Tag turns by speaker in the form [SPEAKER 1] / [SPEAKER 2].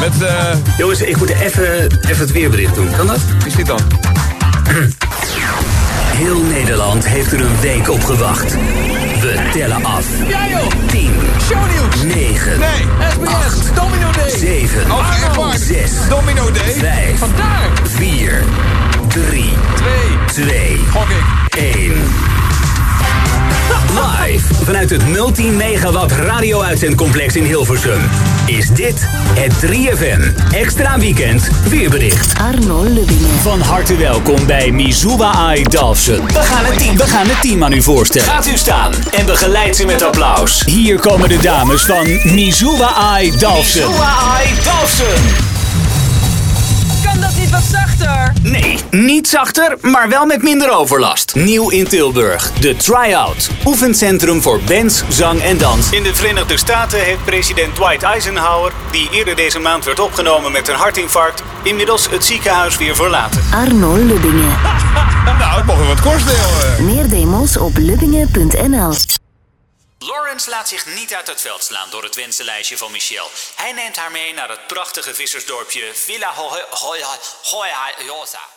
[SPEAKER 1] Met, eh,
[SPEAKER 2] Jongens, ik moet even, even het weerbericht doen. Kan dat?
[SPEAKER 1] wie is dit dan?
[SPEAKER 2] Heel Nederland heeft er een week op gewacht. We tellen af.
[SPEAKER 3] Ja joh,
[SPEAKER 2] 10,
[SPEAKER 3] shownieuws.
[SPEAKER 2] 9,
[SPEAKER 3] Nee, SBS, Domino Day.
[SPEAKER 2] 7,
[SPEAKER 1] Oh, echt waar?
[SPEAKER 2] 6,
[SPEAKER 1] Domino Day?
[SPEAKER 2] 5,
[SPEAKER 3] Vandaar.
[SPEAKER 2] 4, 3,
[SPEAKER 1] Twee.
[SPEAKER 2] 2,
[SPEAKER 1] Gok ik.
[SPEAKER 2] 1. Live vanuit het multi-megawatt radio-uitzendcomplex in Hilversum is dit het 3FM Extra Weekend Weerbericht.
[SPEAKER 4] Arno Lubbingen.
[SPEAKER 2] Van harte welkom bij Mizuwa Ai Dalfsen. We gaan, het team, we gaan het team aan u voorstellen. Gaat u staan en begeleid ze met applaus. Hier komen de dames van Mizuwa Ai Dalfsen. Ai Dalfsen.
[SPEAKER 3] Kan dat niet wat zachter?
[SPEAKER 2] Nee, niet zachter, maar wel met minder overlast. Nieuw in Tilburg, de Tryout. Oefencentrum voor bands, zang en dans.
[SPEAKER 5] In de Verenigde Staten heeft president Dwight Eisenhower, die eerder deze maand werd opgenomen met een hartinfarct, inmiddels het ziekenhuis weer verlaten.
[SPEAKER 4] Arno Lubbingen.
[SPEAKER 1] Nou, het mocht wel wat kosten, joh.
[SPEAKER 4] Meer demos op lubbingen.nl.
[SPEAKER 2] Lawrence laat zich niet uit het veld slaan door het wensenlijstje van Michel. Hij neemt haar mee naar het prachtige vissersdorpje Villa Hoya.